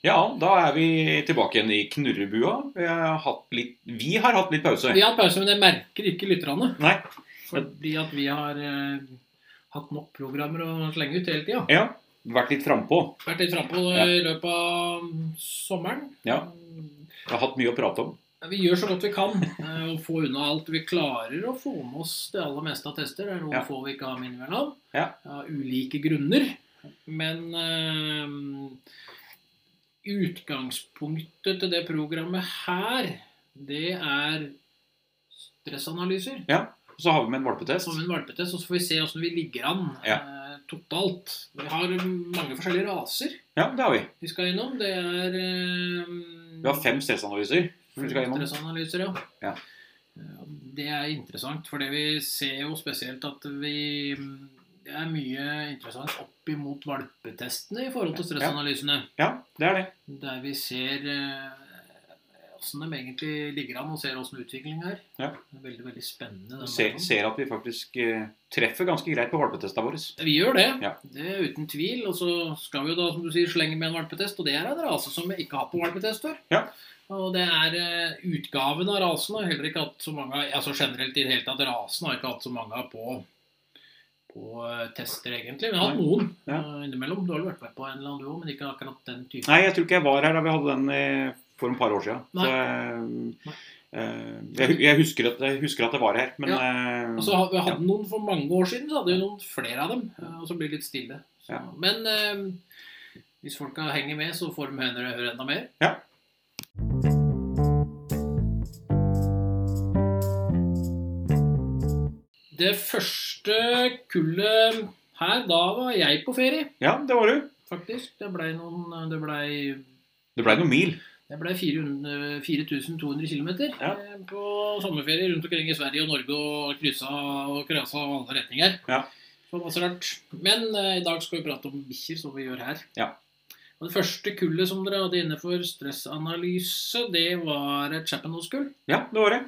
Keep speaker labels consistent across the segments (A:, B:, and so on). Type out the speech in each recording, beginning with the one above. A: Ja, da er vi tilbake igjen i knurrebua. Vi har hatt litt, vi har hatt litt pause.
B: Vi har hatt pause, men det merker ikke lytterne.
A: Nei.
B: Fordi at vi har eh, hatt nok programmer å slenge ut hele tida.
A: Ja, vært litt frampå.
B: Vært litt frampå
A: Ja.
B: i løpet av sommeren.
A: Ja. Vi har hatt mye å prate om.
B: Vi gjør så godt vi kan eh, og få unna alt. Vi klarer å få med oss det aller meste av tester. Det er noen
A: Ja.
B: få vi ikke har med innimellom.
A: Ja.
B: Av ulike grunner. Men eh, utgangspunktet til det programmet her, det er stressanalyser.
A: Og så har vi med en valpetest.
B: Som en valpetest, og så får vi se åssen vi ligger an
A: Ja.
B: eh, totalt. Vi har mange forskjellige raser
A: Ja, det har vi.
B: vi skal innom. Det er eh,
A: Vi har fem stressanalyser.
B: Mm,
A: som vi skal innom.
B: Stressanalyser, ja.
A: Ja.
B: Eh, Det er interessant, for det vi ser jo spesielt at vi Det er mye interessant opp imot valpetestene i forhold til stressanalysene.
A: Ja, det er det.
B: Der vi ser åssen de egentlig ligger an, og ser åssen utviklinga er.
A: Ja.
B: Det er veldig, veldig spennende. den
A: Ser,
B: måten.
A: ser at vi faktisk eh, treffer ganske greit på valpetesta vår.
B: Vi gjør det.
A: Ja.
B: Det er uten tvil. Og så skal vi jo da, som du sier, slenge med en valpetest. Og det er en rase som vi ikke har hatt på valpetest før.
A: Ja.
B: Og det er eh, utgaven av rasen har heller ikke hatt så mange av- Altså generelt i det hele tatt, rasen har ikke hatt så mange av på, på eh, tester, egentlig. Vi har hatt
A: Nei.
B: noen
A: Ja.
B: eh, innimellom. Du har vel vært med på en eller annen, du òg, men ikke akkurat den typen.
A: Nei, jeg tror ikke jeg var her da vi hadde den eh, for et par år siden. Så, eh, eh, jeg, hu- jeg, husker at, jeg husker at det var her, men eh,
B: Og så har- vi hadde noen for mange år siden, så hadde vi noen flere av dem. eh, Og så blir det litt stille. Så,
A: Ja.
B: Men eh, hvis folka henger med, så får de høre, høre enda mer. Det første kullet her, da var jeg på ferie,
A: Ja, det var du.
B: faktisk. Det blei noen Det blei
A: Det blei noen mil.
B: det ble 400 4200 km
A: Ja.
B: eh, på sommerferie rundt omkring i Sverige og Norge og kryssa og krasa av alle retninger.
A: Ja.
B: Så det var så rart. Men eh, i dag skal vi prate om bikkjer, som vi gjør her.
A: Ja.
B: Og Det første kullet som dere hadde inne for stressanalyse, det var et Chappanoz-kull.
A: Ja, det var det.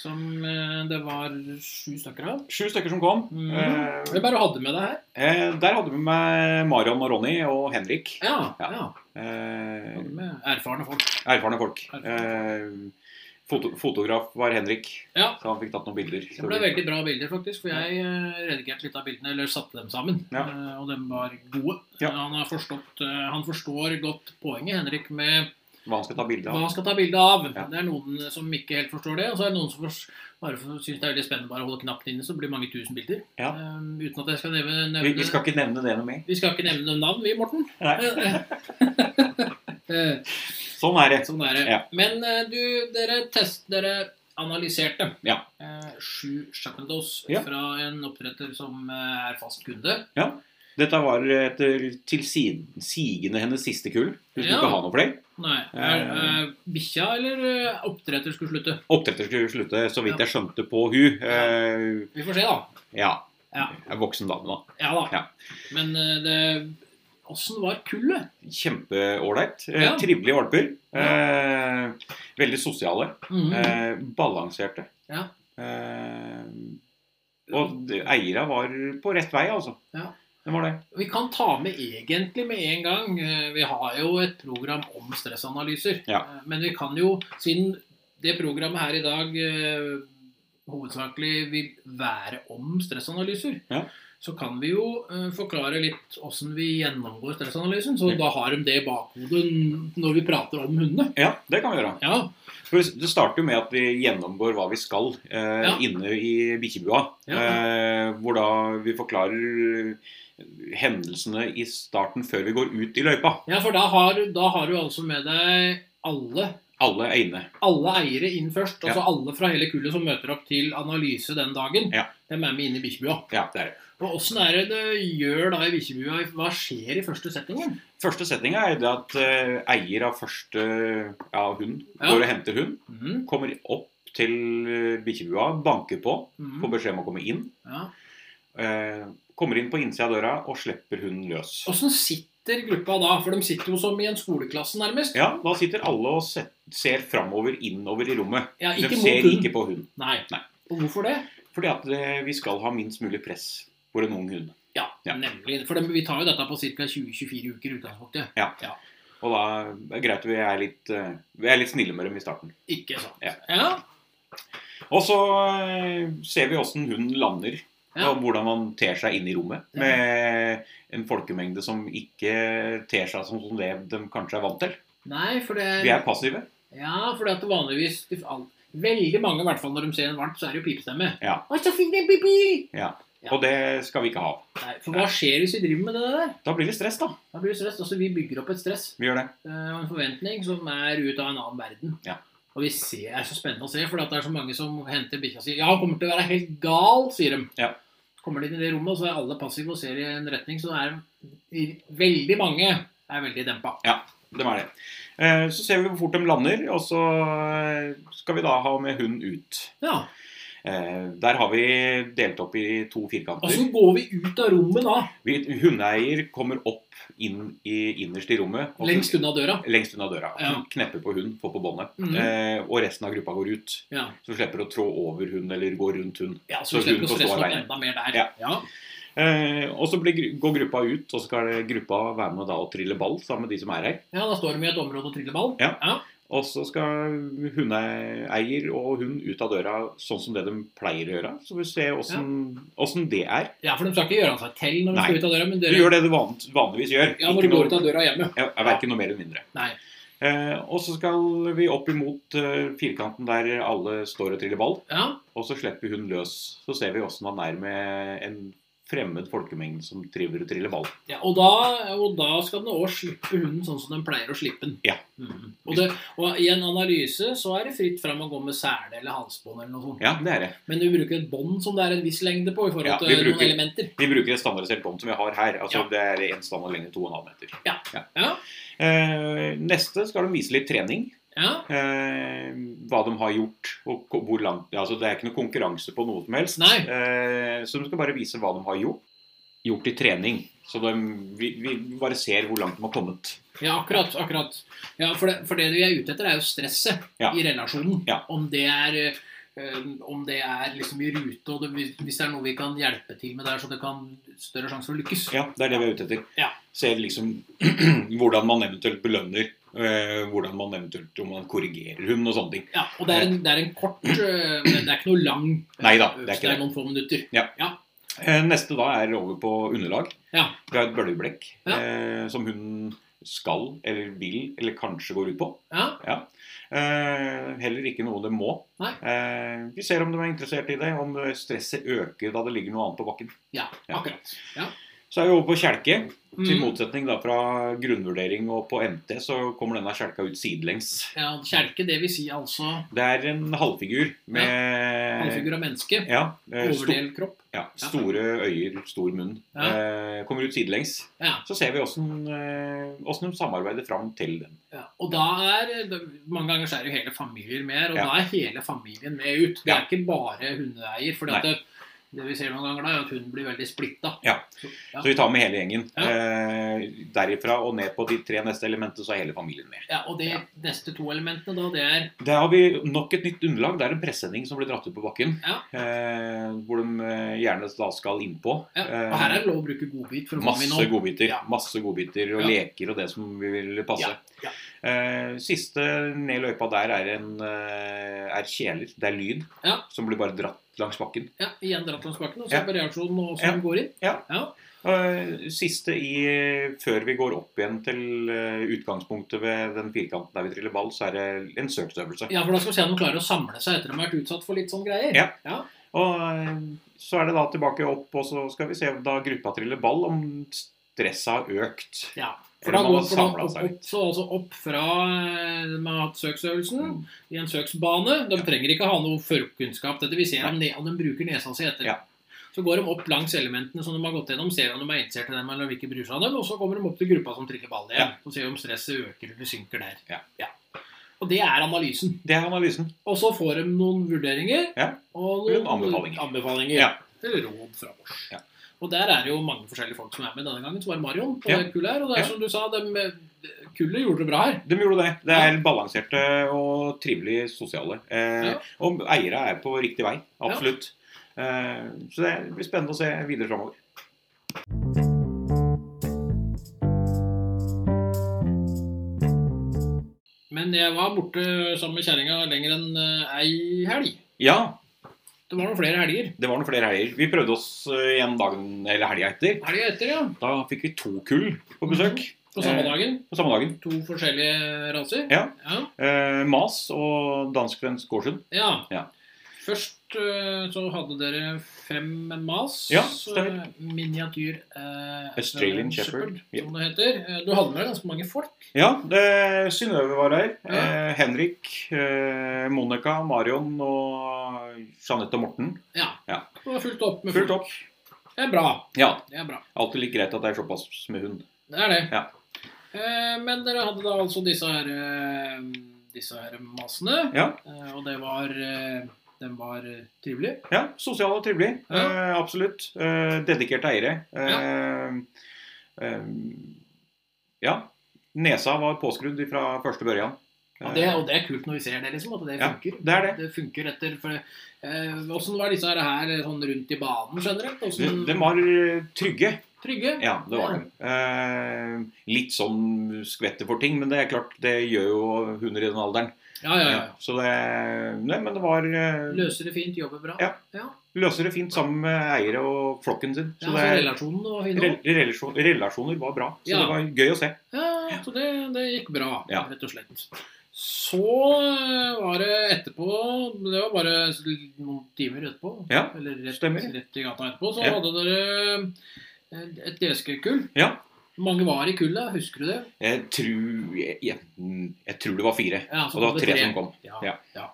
B: Som eh, det var sju stykker av.
A: Sju stykker som kom.
B: Mhm.
A: Eh,
B: Vi bare hadde med det her.
A: Eh, der hadde vi med Marion og Ronny og Henrik.
B: Ja,
A: Ja.
B: ja.
A: Eh,
B: Hadde med erfarne folk.
A: erfarne folk. Eh, foto fotograf var Henrik,
B: Ja.
A: så han fikk tatt noen bilder.
B: Det ble veldig bra bilder, faktisk. For jeg eh, redigerte litt av bildene, eller satte dem sammen.
A: Ja.
B: eh, Og de var gode.
A: Ja.
B: Han, har forstått, eh, han forstår godt poenget, Henrik, med
A: Hva han skal ta bilde
B: hva
A: av.
B: han skal ta bilde av.
A: Ja.
B: Det er noen som ikke helt forstår det, og så er det noen som fors- bare syns det er veldig spennende bare å holde knappen inne, så blir det mange tusen bilder.
A: Ja.
B: Eh, Uten at jeg skal
A: Vi,
B: nevne, nevne
A: vi skal ikke nevne det noe mer.
B: vi skal ikke nevne noen navn, vi, Morten.
A: Nei.
B: Eh,
A: Sånn er det.
B: Sånn er det.
A: Ja.
B: Men eh, du, dere test, dere analyserte
A: Ja.
B: eh, sju Chapendos
A: Ja.
B: fra en oppdretter som eh, er fast kunde.
A: Dette var et eh, tilsigende hennes siste kull. Hun skulle
B: Ja.
A: ikke ha noe flere.
B: Nei, er eh, bikkja eller eh, oppdretter skulle slutte?
A: Oppdretter skulle slutte, så vidt jeg skjønte på hun. Eh,
B: Vi får se, da.
A: ja.
B: Ja.
A: Jeg er Voksen dame, da.
B: Ja da.
A: Ja.
B: Men eh, det Åssen var kullet?
A: Kjempeålreit. Eh,
B: Ja.
A: Trivelige valper. Eh, veldig sosiale.
B: Mhm.
A: Eh, balanserte.
B: Ja.
A: Eh, og de- eiera var på rett vei, altså.
B: Ja.
A: Den var det.
B: Vi kan ta med egentlig med en gang eh, Vi har jo et program om stressanalyser.
A: Ja.
B: Eh, Men vi kan jo, siden det programmet her i dag eh, hovedsakelig vil være om stressanalyser,
A: Ja.
B: så kan vi jo eh, forklare litt åssen vi gjennomgår stressanalysen. Så
A: Ja.
B: da har de det i bakhodet når vi prater om hundene.
A: Ja, det kan vi gjøre.
B: Ja,
A: For det starter jo med at vi gjennomgår hva vi skal eh,
B: Ja.
A: inne i bikkjebua.
B: Ja.
A: Eh, hvor da vi forklarer eh, hendelsene i starten før vi går ut i løypa.
B: ja for da har, da har du altså med deg alle
A: Alle er inne.
B: alle eiere inn først.
A: Ja.
B: Altså alle fra hele kullet som møter opp til analyse den dagen.
A: Ja.
B: Dem er med inn i bikkjebua.
A: Ja, det er det.
B: Og åssen er det det gjør da i bikkjebua? Hva skjer i første settingen?
A: Første setninga er det at eh, eier av første ja, hund går
B: Ja.
A: og henter hund.
B: Mhm,
A: Kommer opp til eh, bikkjebua, banker på,
B: mhm,
A: får beskjed om å komme inn.
B: ja.
A: Eh, kommer inn på innsida av døra og slipper hunden løs.
B: Åssen sitter gruppa da? For de sitter jo som i en skoleklasse, nærmest.
A: Ja, Da sitter alle og se- ser framover, innover i rommet.
B: Ja,
A: De
B: ikke
A: ser
B: mot hund.
A: ikke på hund.
B: Nei.
A: Nei.
B: Og hvorfor det?
A: Fordi at eh, vi skal ha minst mulig press for en ung hund.
B: Ja,
A: Ja.
B: nemlig. For dem, vi tar jo dette på ca. 20-24 uker i utgangspunktet.
A: Ja. Og da er det greit at vi er litt, eh, vi er litt snille med dem i starten.
B: Ikke sant.
A: Ja.
B: ja.
A: Og så eh, ser vi åssen hun lander,
B: Ja.
A: og hvordan man ter seg inn i rommet.
B: Ja.
A: Med en folkemengde som ikke ter seg som som det de kanskje er vant til.
B: Nei, for det
A: Vi er passive.
B: Ja, for det at vanligvis de- all- Veldig mange, i hvert fall når de ser en valp, så er det jo pipestemme.
A: Ja.
B: Å, så fin den pipi!
A: Ja.
B: Ja.
A: Og det skal vi ikke ha.
B: Nei, for hva skjer hvis vi driver med det der?
A: Da blir det stress, da.
B: Da blir det stress. Altså, vi bygger opp et stress
A: Vi gjør det.
B: eh, og en forventning som er ut av en annen verden.
A: Ja.
B: Og vi ser, det er så spennende å se, for det er så mange som henter bikkja og sier 'Ja, han kommer til å være helt gal', sier de.
A: Ja.
B: Kommer de inn i det rommet, og så er alle passive og ser i en retning, så er de- veldig mange er veldig dempa.
A: De er det. Eh, Så ser vi hvor fort de lander, og så eh, skal vi da ha med hund ut.
B: Ja.
A: Eh, Der har vi delt opp i to
B: Og
A: firkanter.
B: så går vi ut av rommet da,
A: Vi, hundeeier kommer opp inn i, innerst i rommet. og-
B: lengst unna døra.
A: Lengst unna døra.
B: Ja.
A: Knepper på hund, får på båndet.
B: Mhm.
A: Eh, og resten av gruppa går ut.
B: Ja.
A: Så slipper å trå over hund eller gå rundt hund.
B: Ja,
A: Så
B: så,
A: hun
B: slipper hun å
A: får stå
B: stresse opp
A: alene.
B: enda mer der.
A: Ja.
B: Ja.
A: Eh, og så blir, gru- går gruppa ut, og så skal det- gruppa være med da og trille ball sammen med de som er her.
B: Ja, da står de i et område og triller ball.
A: Ja. Og så skal hundeeier og hund ut av døra sånn som det de pleier å gjøre. Så vi ser åssen det er.
B: Ja, for de skal ikke gjøre seg til når de
A: Nei.
B: skal ut av døra, men
A: Du
B: dere,
A: gjør det du van vanligvis gjør.
B: ja, når de går ut
A: noe,
B: av døra hjemme.
A: ja, er verken noe mer eller mindre.
B: Nei.
A: Eh, og så skal vi opp imot eh, firkanten der alle står og triller ball.
B: Ja,
A: Og så slipper hun løs. Så ser vi åssen han er med en fremmed folkemengde som driver og triller ball.
B: ja og, da, og da skal den også slippe hunden sånn som den pleier å slippe den.
A: Ja.
B: Mhm. Og, det, og i en analyse så er det fritt frem å gå med sele eller halsbånd eller noe sånt.
A: Ja, det er det.
B: Men du bruker et bånd som det er en viss lengde på i forhold
A: Ja,
B: til
A: vi
B: noen
A: bruker-
B: elementer.
A: Vi bruker et standardisert bånd som vi har her. Altså
B: Ja.
A: Det er en standard lengde 2,5 meter.
B: Ja. Ja.
A: Eh, neste skal de vise litt trening.
B: Ja,
A: eh, hva de har gjort. Og ko- hvor langt, altså det er ikke noe konkurranse på noe som helst.
B: Nei.
A: Eh, så de skal bare vise hva de har gjort, gjort i trening. Så de, vi, vi bare ser hvor langt de har kommet.
B: ja akkurat. akkurat. Ja, for, det, for det vi er ute etter, er jo stresset
A: Ja.
B: i relasjonen.
A: Ja.
B: Om det er eh, om det er liksom i rute, og det, hvis det er noe vi kan hjelpe til med der, så det kan større sjanse for å lykkes.
A: Ja, Det er det vi er ute etter.
B: Ja.
A: Ser liksom hvordan man eventuelt belønner. eh, hvordan man eventuelt om man korrigerer hund og sånne ting.
B: Ja, og det er en, det er en kort eh, men Det er ikke noe lang eh,
A: Neida, det er
B: øvelse,
A: ikke det.
B: noen få minutter.
A: Eh, neste da er over på underlag.
B: Ja.
A: Vi har et bølgeblekk
B: Ja.
A: eh, som hun skal eller vil eller kanskje går ut på.
B: Ja,
A: Eh, heller ikke noe det må.
B: Nei.
A: Eh, vi ser om de er interessert i det, om eh, stresset øker da det ligger noe annet på bakken.
B: ja
A: Ja.
B: akkurat.
A: Så er vi over på kjelke. Til
B: Mm.
A: motsetning da fra grunnvurdering og på MT, så kommer denne kjelka ut sidelengs.
B: Ja, kjelke, det vil si altså
A: Det er en halvfigur med
B: halvfigur av menneske.
A: Eh, ja, eh, sto,
B: Overdel kropp.
A: ja, store øyer, stor munn. Eh, kommer ut sidelengs.
B: Ja.
A: Så ser vi åssen eh, de samarbeider fram til den.
B: Ja. Og da er det- Mange ganger så er det jo hele familier med, og
A: Ja.
B: da er hele familien med ut. Det
A: Ja.
B: er ikke bare hundeeier. For
A: Nei.
B: det, det vi ser noen ganger, da, er at hunden blir veldig splitta.
A: Ja.
B: Så, ja.
A: Så vi tar med hele gjengen.
B: Ja.
A: Eh, derifra og ned på de tre neste elementene, så er hele familien med.
B: Ja, og de
A: Ja.
B: neste to elementene, da, det er
A: Der har vi nok et nytt underlag. Det er en presenning som blir dratt ut på bakken.
B: Ja.
A: Eh, hvor de eh, gjerne da skal innpå. Eh,
B: ja, Og her er det lov å bruke godbit for å få med
A: masse
B: noen.
A: godbiter.
B: Ja.
A: Masse godbiter og
B: Ja.
A: leker og det som vi vil passe.
B: Ja,
A: Eh, siste ned i løypa der er, en, eh, er kjeler. Det er lyd
B: Ja.
A: som blir bare dratt langs bakken.
B: Ja, igjen dratt langs bakken, og så
A: Ja.
B: er det reaksjonen og
A: Ja.
B: som går inn.
A: Eh, siste i Før vi går opp igjen til eh, utgangspunktet ved den firkanten der vi triller ball, så er det en searchøvelse.
B: Ja, for da skal vi se om de klarer å samle seg etter at de har vært utsatt for litt sånn greier.
A: Ja. Og eh, så er det da tilbake opp, og så skal vi se da gruppa triller ball, om stresset har økt.
B: Ja, For
A: Eller
B: da
A: om man
B: går
A: har
B: for da
A: samlet
B: opp,
A: seg
B: opp, så altså opp fra eh, de har hatt søksøvelsen,
A: Mm.
B: i en søksbane. De trenger ikke ha noe førkunnskap. Dette vi ser
A: Nei.
B: om, ne om de bruker nesa si etter.
A: Ja.
B: Så går de opp langs elementene som de har gått gjennom, ser om de er interessert i dem eller ikke bryr seg om dem, og så kommer de opp til gruppa som triller ball igjen. Så ser vi om stresset øker eller synker der.
A: Ja.
B: Og det er analysen.
A: Det er analysen.
B: Og så får de noen vurderinger
A: Ja.
B: og
A: Noen
B: noen
A: anbefalinger.
B: anbefalinger.
A: Ja.
B: Eller råd fra oss.
A: Ja.
B: Og der er det jo mange forskjellige folk som er med denne gangen. Så var det Marion på
A: Ja.
B: det kullet her. Og det er
A: Ja.
B: som du sa, de, kullet gjorde det bra her.
A: De gjorde det. Det er balanserte og trivelig sosiale. Eh,
B: Ja.
A: Og eiere er på riktig vei. Absolutt. Eh, så det blir spennende å se videre framover.
B: Men jeg var borte sammen med kjerringa lenger enn eh, ei helg.
A: Ja,
B: Det var noen flere helger.
A: det var noen flere helger. Vi prøvde oss eh, igjen dagen eller helga etter.
B: Helga etter, ja.
A: Da fikk vi to kull på besøk
B: På samme
A: Eh.
B: dagen.
A: på samme dagen.
B: To forskjellige raser.
A: Ja.
B: ja.
A: Eh, Mas og dansk-svensk Gårdshund.
B: Ja.
A: Ja.
B: Først eh, så hadde dere fem mas.
A: Ja, stemmer.
B: eh, Miniatyr eh,
A: Australian Shepherd, ja.
B: som det heter. Eh, Du hadde med deg ganske mange folk.
A: Ja, det- Synnøve var her.
B: Ja.
A: Eh, Henrik, eh, Monica, Marion og Jeanette og Morten.
B: Ja.
A: Ja.
B: Det var fullt opp med
A: Fullt opp.
B: folk. Det er bra.
A: Ja.
B: Det er bra.
A: Alltid litt greit at det er såpass med hund.
B: Det er det.
A: Ja.
B: Eh, men dere hadde da altså disse her, eh, disse her masene.
A: Ja.
B: Eh, og det var eh, Den var eh, trivelig.
A: Ja, sosial og trivelig.
B: Ja.
A: Eh, absolutt. Eh, dedikerte eiere. Eh, eh, ja. Nesa var påskrudd fra første børjan.
B: Og det, og det er kult når vi ser det, liksom. At det
A: Eh. Ja,
B: funker.
A: det er det.
B: funker etter for, eh, Hvordan var disse her, her sånn rundt i banen generelt?
A: de,
B: Hvordan,
A: de var eh, trygge.
B: trygge?
A: Ja, det var de. Eh, litt sånn skvetter for ting, men det er klart, det gjør jo hunder i den alderen.
B: Ja, ja, ja.
A: Så det Nei, men det var eh,
B: Løser det fint, jobber bra.
A: Ja. Løser det fint sammen med eiere og flokken sin.
B: Ja,
A: Så
B: så
A: det,
B: relasjonen var fin
A: re,
B: òg.
A: relasjon, relasjoner var bra. Så
B: Ja.
A: det var gøy å se.
B: Ja, så det, det gikk bra,
A: Ja.
B: rett og slett. Så eh, var det etterpå Det var bare s- noen timer etterpå.
A: Ja,
B: Eller rett,
A: stemmer.
B: rett i gata etterpå. Så
A: Ja.
B: hadde dere eh, et DSG-kull.
A: Ja.
B: Mange var i kullet, husker du det?
A: Jeg tror, jeg, jeg, jeg tror det var fire.
B: Ja,
A: Og det var tre som kom.
B: Ja.
A: Ja.
B: ja.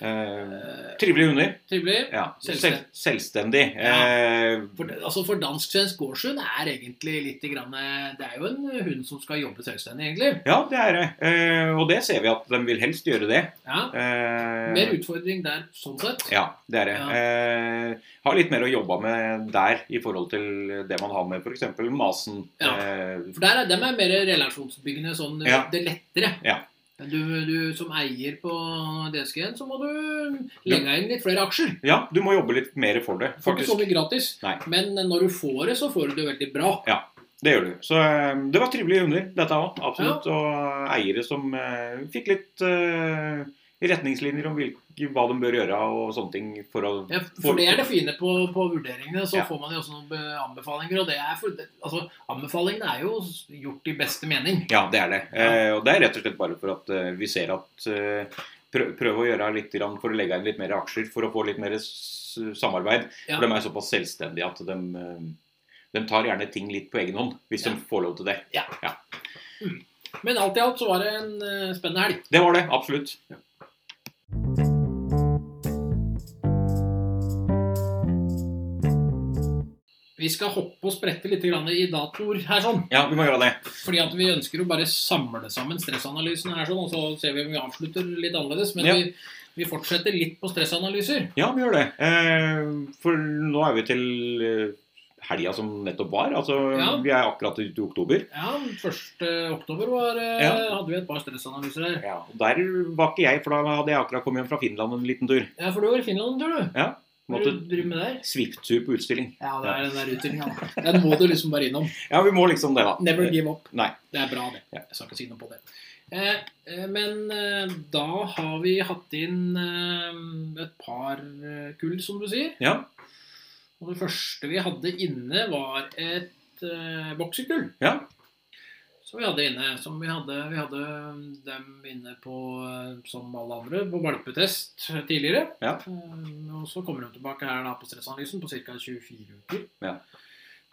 A: Eh,
B: Eh,
A: trivelige hunder.
B: trivelig.
A: Ja. Selv,
B: Selvstendig.
A: selvstendig.
B: Ja.
A: Eh,
B: For, altså for dansk-svensk gårdshund er egentlig litt grann, eh, Det er jo en hund som skal jobbe selvstendig, egentlig.
A: ja, det er det. Eh, og det ser vi at de vil helst gjøre det.
B: Ja,
A: Eh,
B: Mer utfordring der, sånn sett.
A: Ja, det er det.
B: Ja.
A: Eh, har litt mer å jobbe med der i forhold til det man har med f.eks. masen.
B: Ja.
A: Eh,
B: For der er, dem er mer relasjonsbyggende, sånn eh,
A: Ja.
B: det lettere.
A: Ja.
B: Du, du som eier på DSG-en, så må du legge deg inn litt flere aksjer.
A: ja, du må jobbe litt mer for det,
B: Får ikke så
A: faktisk.
B: mye gratis,
A: Nei.
B: men når du får det, så får du det veldig bra.
A: Det gjør du. Så eh, det var trivelige hunder, dette òg. Absolutt. Og eiere som eh, fikk litt eh, retningslinjer om hvilke, hva de bør gjøre og sånne ting for å
B: Ja, for det er det fine på, på vurderingene. Så
A: Ja.
B: får man jo også noen be- anbefalinger. Og det er for, det- altså, anbefalingene er jo s- gjort i beste mening.
A: Ja, det er det. Eh, og det er rett og slett bare for at eh, vi ser at eh, prøv, prøv å gjøre litt grann for å legge inn litt mer aksjer for å få litt mer s samarbeid.
B: Ja.
A: For de er såpass selvstendige at de, eh, de tar gjerne ting litt på egen hånd hvis
B: Ja.
A: de får lov til det.
B: Men alt i alt så var det en eh, spennende helg.
A: Det var det, absolutt.
B: Vi skal hoppe og sprette litt grann i datoer her sånn.
A: Ja, vi må gjøre det.
B: Fordi at vi ønsker jo bare samle sammen stressanalysene her sånn, og så ser vi om vi avslutter litt annerledes. Men
A: Ja.
B: vi, vi fortsetter litt på stressanalyser.
A: Ja, vi gjør det. Eh, for nå er vi til eh, helga som nettopp var. Altså,
B: Ja.
A: vi er akkurat ute i oktober.
B: Ja, 1. oktober var, eh,
A: Ja.
B: hadde vi et par stressanalyser her.
A: Ja, og der var ikke jeg, for da hadde jeg akkurat kommet hjem fra Finland en liten tur.
B: Ja, for du var i Finland, tror du. Hva
A: Måtte
B: du driver med der?
A: Swift-tur på utstilling.
B: Ja, det er den der utstillingen. da. Den må du liksom bare innom.
A: Ja, vi må liksom det, da.
B: Never give up.
A: Nei.
B: Det er bra, det.
A: Ja.
B: Jeg skal ikke si noe på det. Eh, eh, men eh, da har vi hatt inn eh, et par eh, kull, som du sier.
A: Ja.
B: Og det første vi hadde inne, var et eh, boksekull.
A: Ja.
B: Som vi hadde inne. Som vi hadde, vi hadde dem inne på, eh, som alle andre, på valpetest tidligere.
A: Ja.
B: Eh, og så kommer de tilbake her da på stressanalysen på ca. 24 uker.
A: Ja.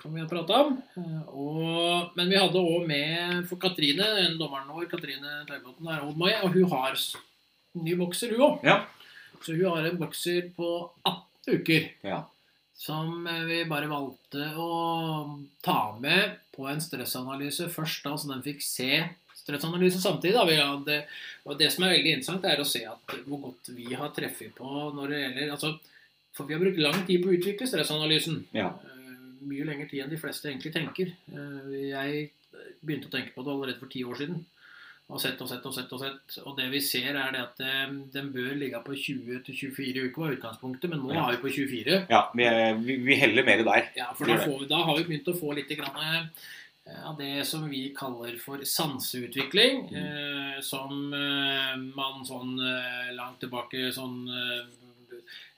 B: Som vi har prata om. Eh, og, men vi hadde òg med for Katrine, den dommeren vår, Katrine Teibotn, er hos meg, og hun har s- ny bokser, hun òg.
A: Ja.
B: Så hun har en bokser på 18 uker
A: Ja.
B: som eh, vi bare valgte å ta med på en stressanalyse først, da, så den fikk se stressanalysen samtidig. Da. Vi hadde, og det som er veldig interessant, er å se at hvor godt vi har treffet på når det gjelder altså, For vi har brukt lang tid på å utvikle stressanalysen.
A: Ja.
B: Eh, Mye lengre tid enn de fleste egentlig tenker. Eh, Jeg begynte å tenke på det allerede for ti år siden. Og sett og sett og sett. Og sett. Og det vi ser, er det at eh, den bør ligge på 20-24 uker, var utgangspunktet, men nå
A: Ja.
B: har vi på 24.
A: ja vi, vi heller mer der.
B: Ja,
A: Gjør
B: for da,
A: det.
B: får, vi- da har vi begynt å få litt grann, eh, av det som vi kaller for sanseutvikling,
A: Mm.
B: eh, som eh, man sånn eh, langt tilbake sånn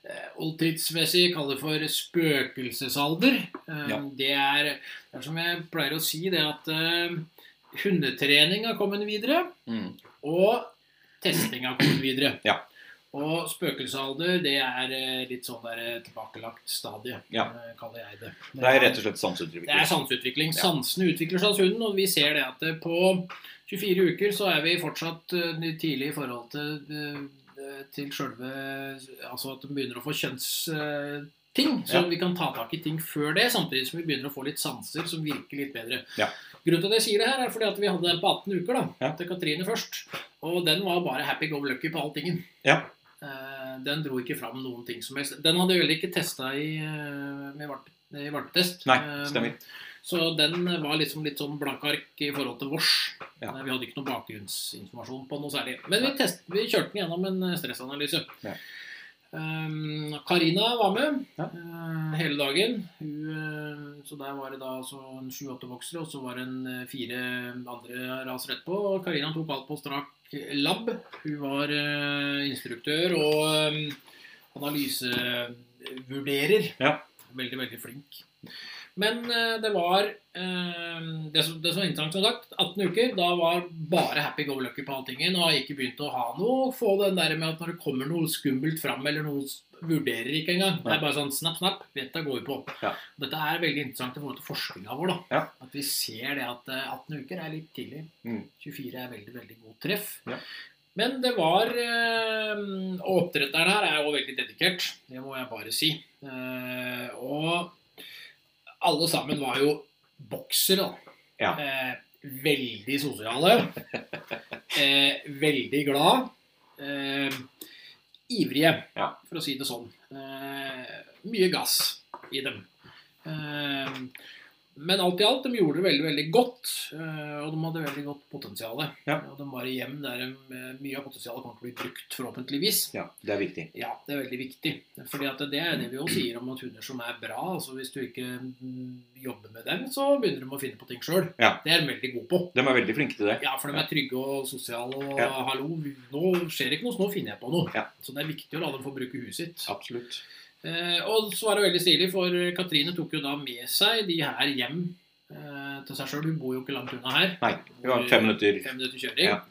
B: eh, oldtidsmessig kaller for spøkelsesalder. Eh,
A: Ja.
B: det, er, det er som jeg pleier å si, det at eh, hundetrening har kommet videre.
A: Mm.
B: Og testing har kommet videre.
A: Ja.
B: Og spøkelsesalder, det er eh, litt sånn der eh, tilbakelagt stadie,
A: Ja.
B: eh, kaller jeg det.
A: Det er rett og slett
B: Det er
A: sanseuttrykk.
B: sanseutvikling.
A: Ja.
B: Sansene utvikler seg hos hunden, og vi ser det at eh, på 24 uker så er vi fortsatt eh, tidlig i forhold til, eh, til sjølve Altså at de begynner å få kjønnsting. Så
A: Ja.
B: vi kan ta tak i ting før det, samtidig som vi begynner å få litt sanser som virker litt bedre.
A: Ja.
B: Grunnen til at jeg sier det her, er fordi at vi hadde den på 18 uker, da.
A: Ja.
B: Til Katrine først. Og den var bare happy go lucky på all tingen.
A: Ja.
B: Eh, Den dro ikke fram noen ting som helst. Den hadde jeg vel ikke testa i, eh, med vart- i valpetest.
A: Nei,
B: Eh,
A: stemmer.
B: Så den var liksom litt sånn blankark i forhold til vårs.
A: Ja.
B: Eh, Vi hadde ikke noe bakgrunnsinformasjon på noe særlig. Men vi, test, vi kjørte den gjennom en eh, stressanalyse.
A: Ja.
B: Um, Karina var med
A: Ja.
B: eh, hele dagen. Hun, eh, så der var det da altså en sju-åtte voksere, og så var det en eh, fire andre ras rett på. Og Karina tok alt på strak labb. Hun var eh, instruktør og eh, analysevurderer.
A: Ja.
B: Veldig, veldig flink. Men eh, det var eh, det, som, det som var interessant, som sagt, 18 uker, da var bare happy go lucky på alltingen. Og har ikke begynt å ha noe. Få den der med at når det kommer noe skummelt fram, eller noe s- vurderer ikke engang. Det
A: Nei.
B: er bare sånn snap, snap. Dette går vi på.
A: Ja.
B: Dette er veldig interessant i forhold til forskninga vår. da.
A: Ja.
B: At vi ser det at eh, 18 uker er litt tidlig.
A: Mm.
B: 24 er veldig, veldig god treff.
A: Ja.
B: Men det var eh, Og oppdretteren her er jo veldig dedikert, det må jeg bare si. Eh, og alle sammen var jo boksere. da.
A: Ja.
B: Eh, veldig sosiale. eh, veldig glad. Eh, ivrige,
A: Ja.
B: for å si det sånn. Eh, mye gass i dem. Eh, men alt i alt, de gjorde det veldig veldig godt, eh, og de hadde veldig godt potensial.
A: Ja.
B: Og de var i hjem der de, eh, mye av potensialet kommer til å bli brukt, forhåpentligvis.
A: Ja, det er viktig.
B: Ja, det er veldig viktig. Fordi at det er det vi jo sier om at hunder som er bra. altså Hvis du ikke mm, jobber med dem, så begynner de å finne på ting sjøl.
A: Ja.
B: Det er de veldig gode på.
A: De er veldig flinke til det.
B: Ja, for de er trygge og sosiale og
A: Ja.
B: 'hallo, nå skjer det ikke noe, så nå finner jeg på noe'.
A: Ja.
B: Så det er viktig å la dem få bruke huet sitt.
A: Absolutt.
B: Eh, og så var det veldig stilig, for Katrine tok jo da med seg de her hjem eh, til seg sjøl. Hun bor jo ikke langt unna her.
A: Nei, vi har fem minutter.
B: Fem minutter kjøring.
A: Ja.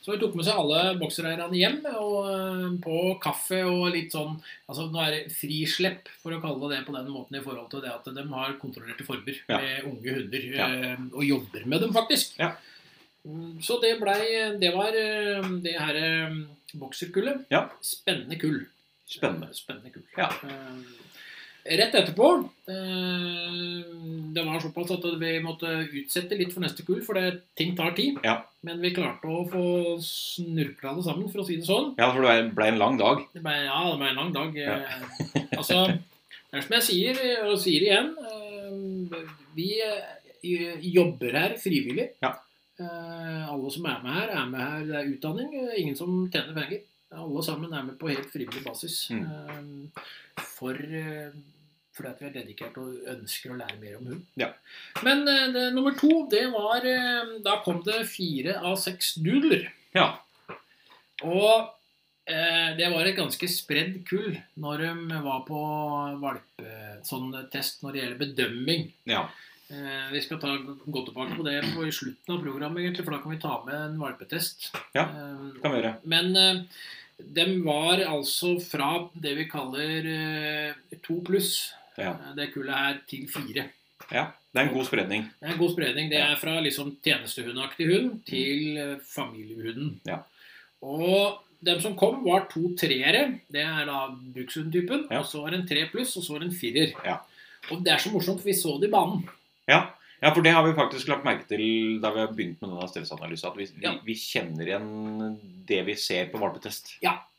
B: Så hun tok med seg alle boksereierne hjem og eh, på kaffe og litt sånn altså Nå er det frislepp, for å kalle det det på den måten, i forhold til det at de har kontrollerte former
A: Ja.
B: med unge hunder.
A: Ja.
B: eh, Og jobber med dem, faktisk.
A: Ja.
B: Mm, Så det blei Det var eh, det her eh, bokserkullet.
A: Ja.
B: Spennende kull.
A: Spennende.
B: Eh, Spennende kull.
A: Ja.
B: Eh, Rett etterpå eh, Det var såpass at vi måtte utsette litt for neste kull, for det, ting tar tid.
A: Ja.
B: Men vi klarte å få snurkla det sammen, for å si det sånn.
A: Ja, for det ble en lang dag.
B: Det ble, ja, det ble en lang dag. eh, altså, det er som jeg sier, og sier igjen eh, Vi eh, jobber her frivillig.
A: Ja.
B: Eh, alle som er med her, er med her. Det er utdanning. eh, Ingen som tjener penger. Alle sammen er med på helt frivillig basis.
A: Mm.
B: eh, for eh, fordi at vi er dedikert og ønsker å lære mer om hund.
A: Ja.
B: Men eh, det, nummer to, det var eh, Da kom det fire av seks doodler.
A: Ja.
B: Og eh, det var et ganske spredd kull når de var på valpe, sånn test når det gjelder bedømming.
A: Ja.
B: Eh, vi skal ta gå tilbake på det på i slutten av programmet, egentlig, for da kan vi ta med en valpetest.
A: Ja.
B: Eh,
A: Det kan vi gjøre.
B: men eh, de var altså fra det vi kaller eh, to pluss,
A: Ja.
B: eh, det kullet her, til fire.
A: Ja. Det er en god spredning.
B: Det er en god spredning. Det
A: Ja.
B: er fra liksom tjenestehundaktig hund til eh, familiehunden.
A: Ja.
B: Og dem som kom, var to treere. Det er da brukshundtypen.
A: Ja.
B: Og så var det en tre pluss, og så var det en firer.
A: Ja.
B: Og det er så morsomt, for vi så det i banen.
A: Ja. ja, for det har vi faktisk lagt merke til da vi har begynt med denne stressanalysen. At vi, vi,
B: Ja.
A: vi kjenner igjen det vi ser på valpetest.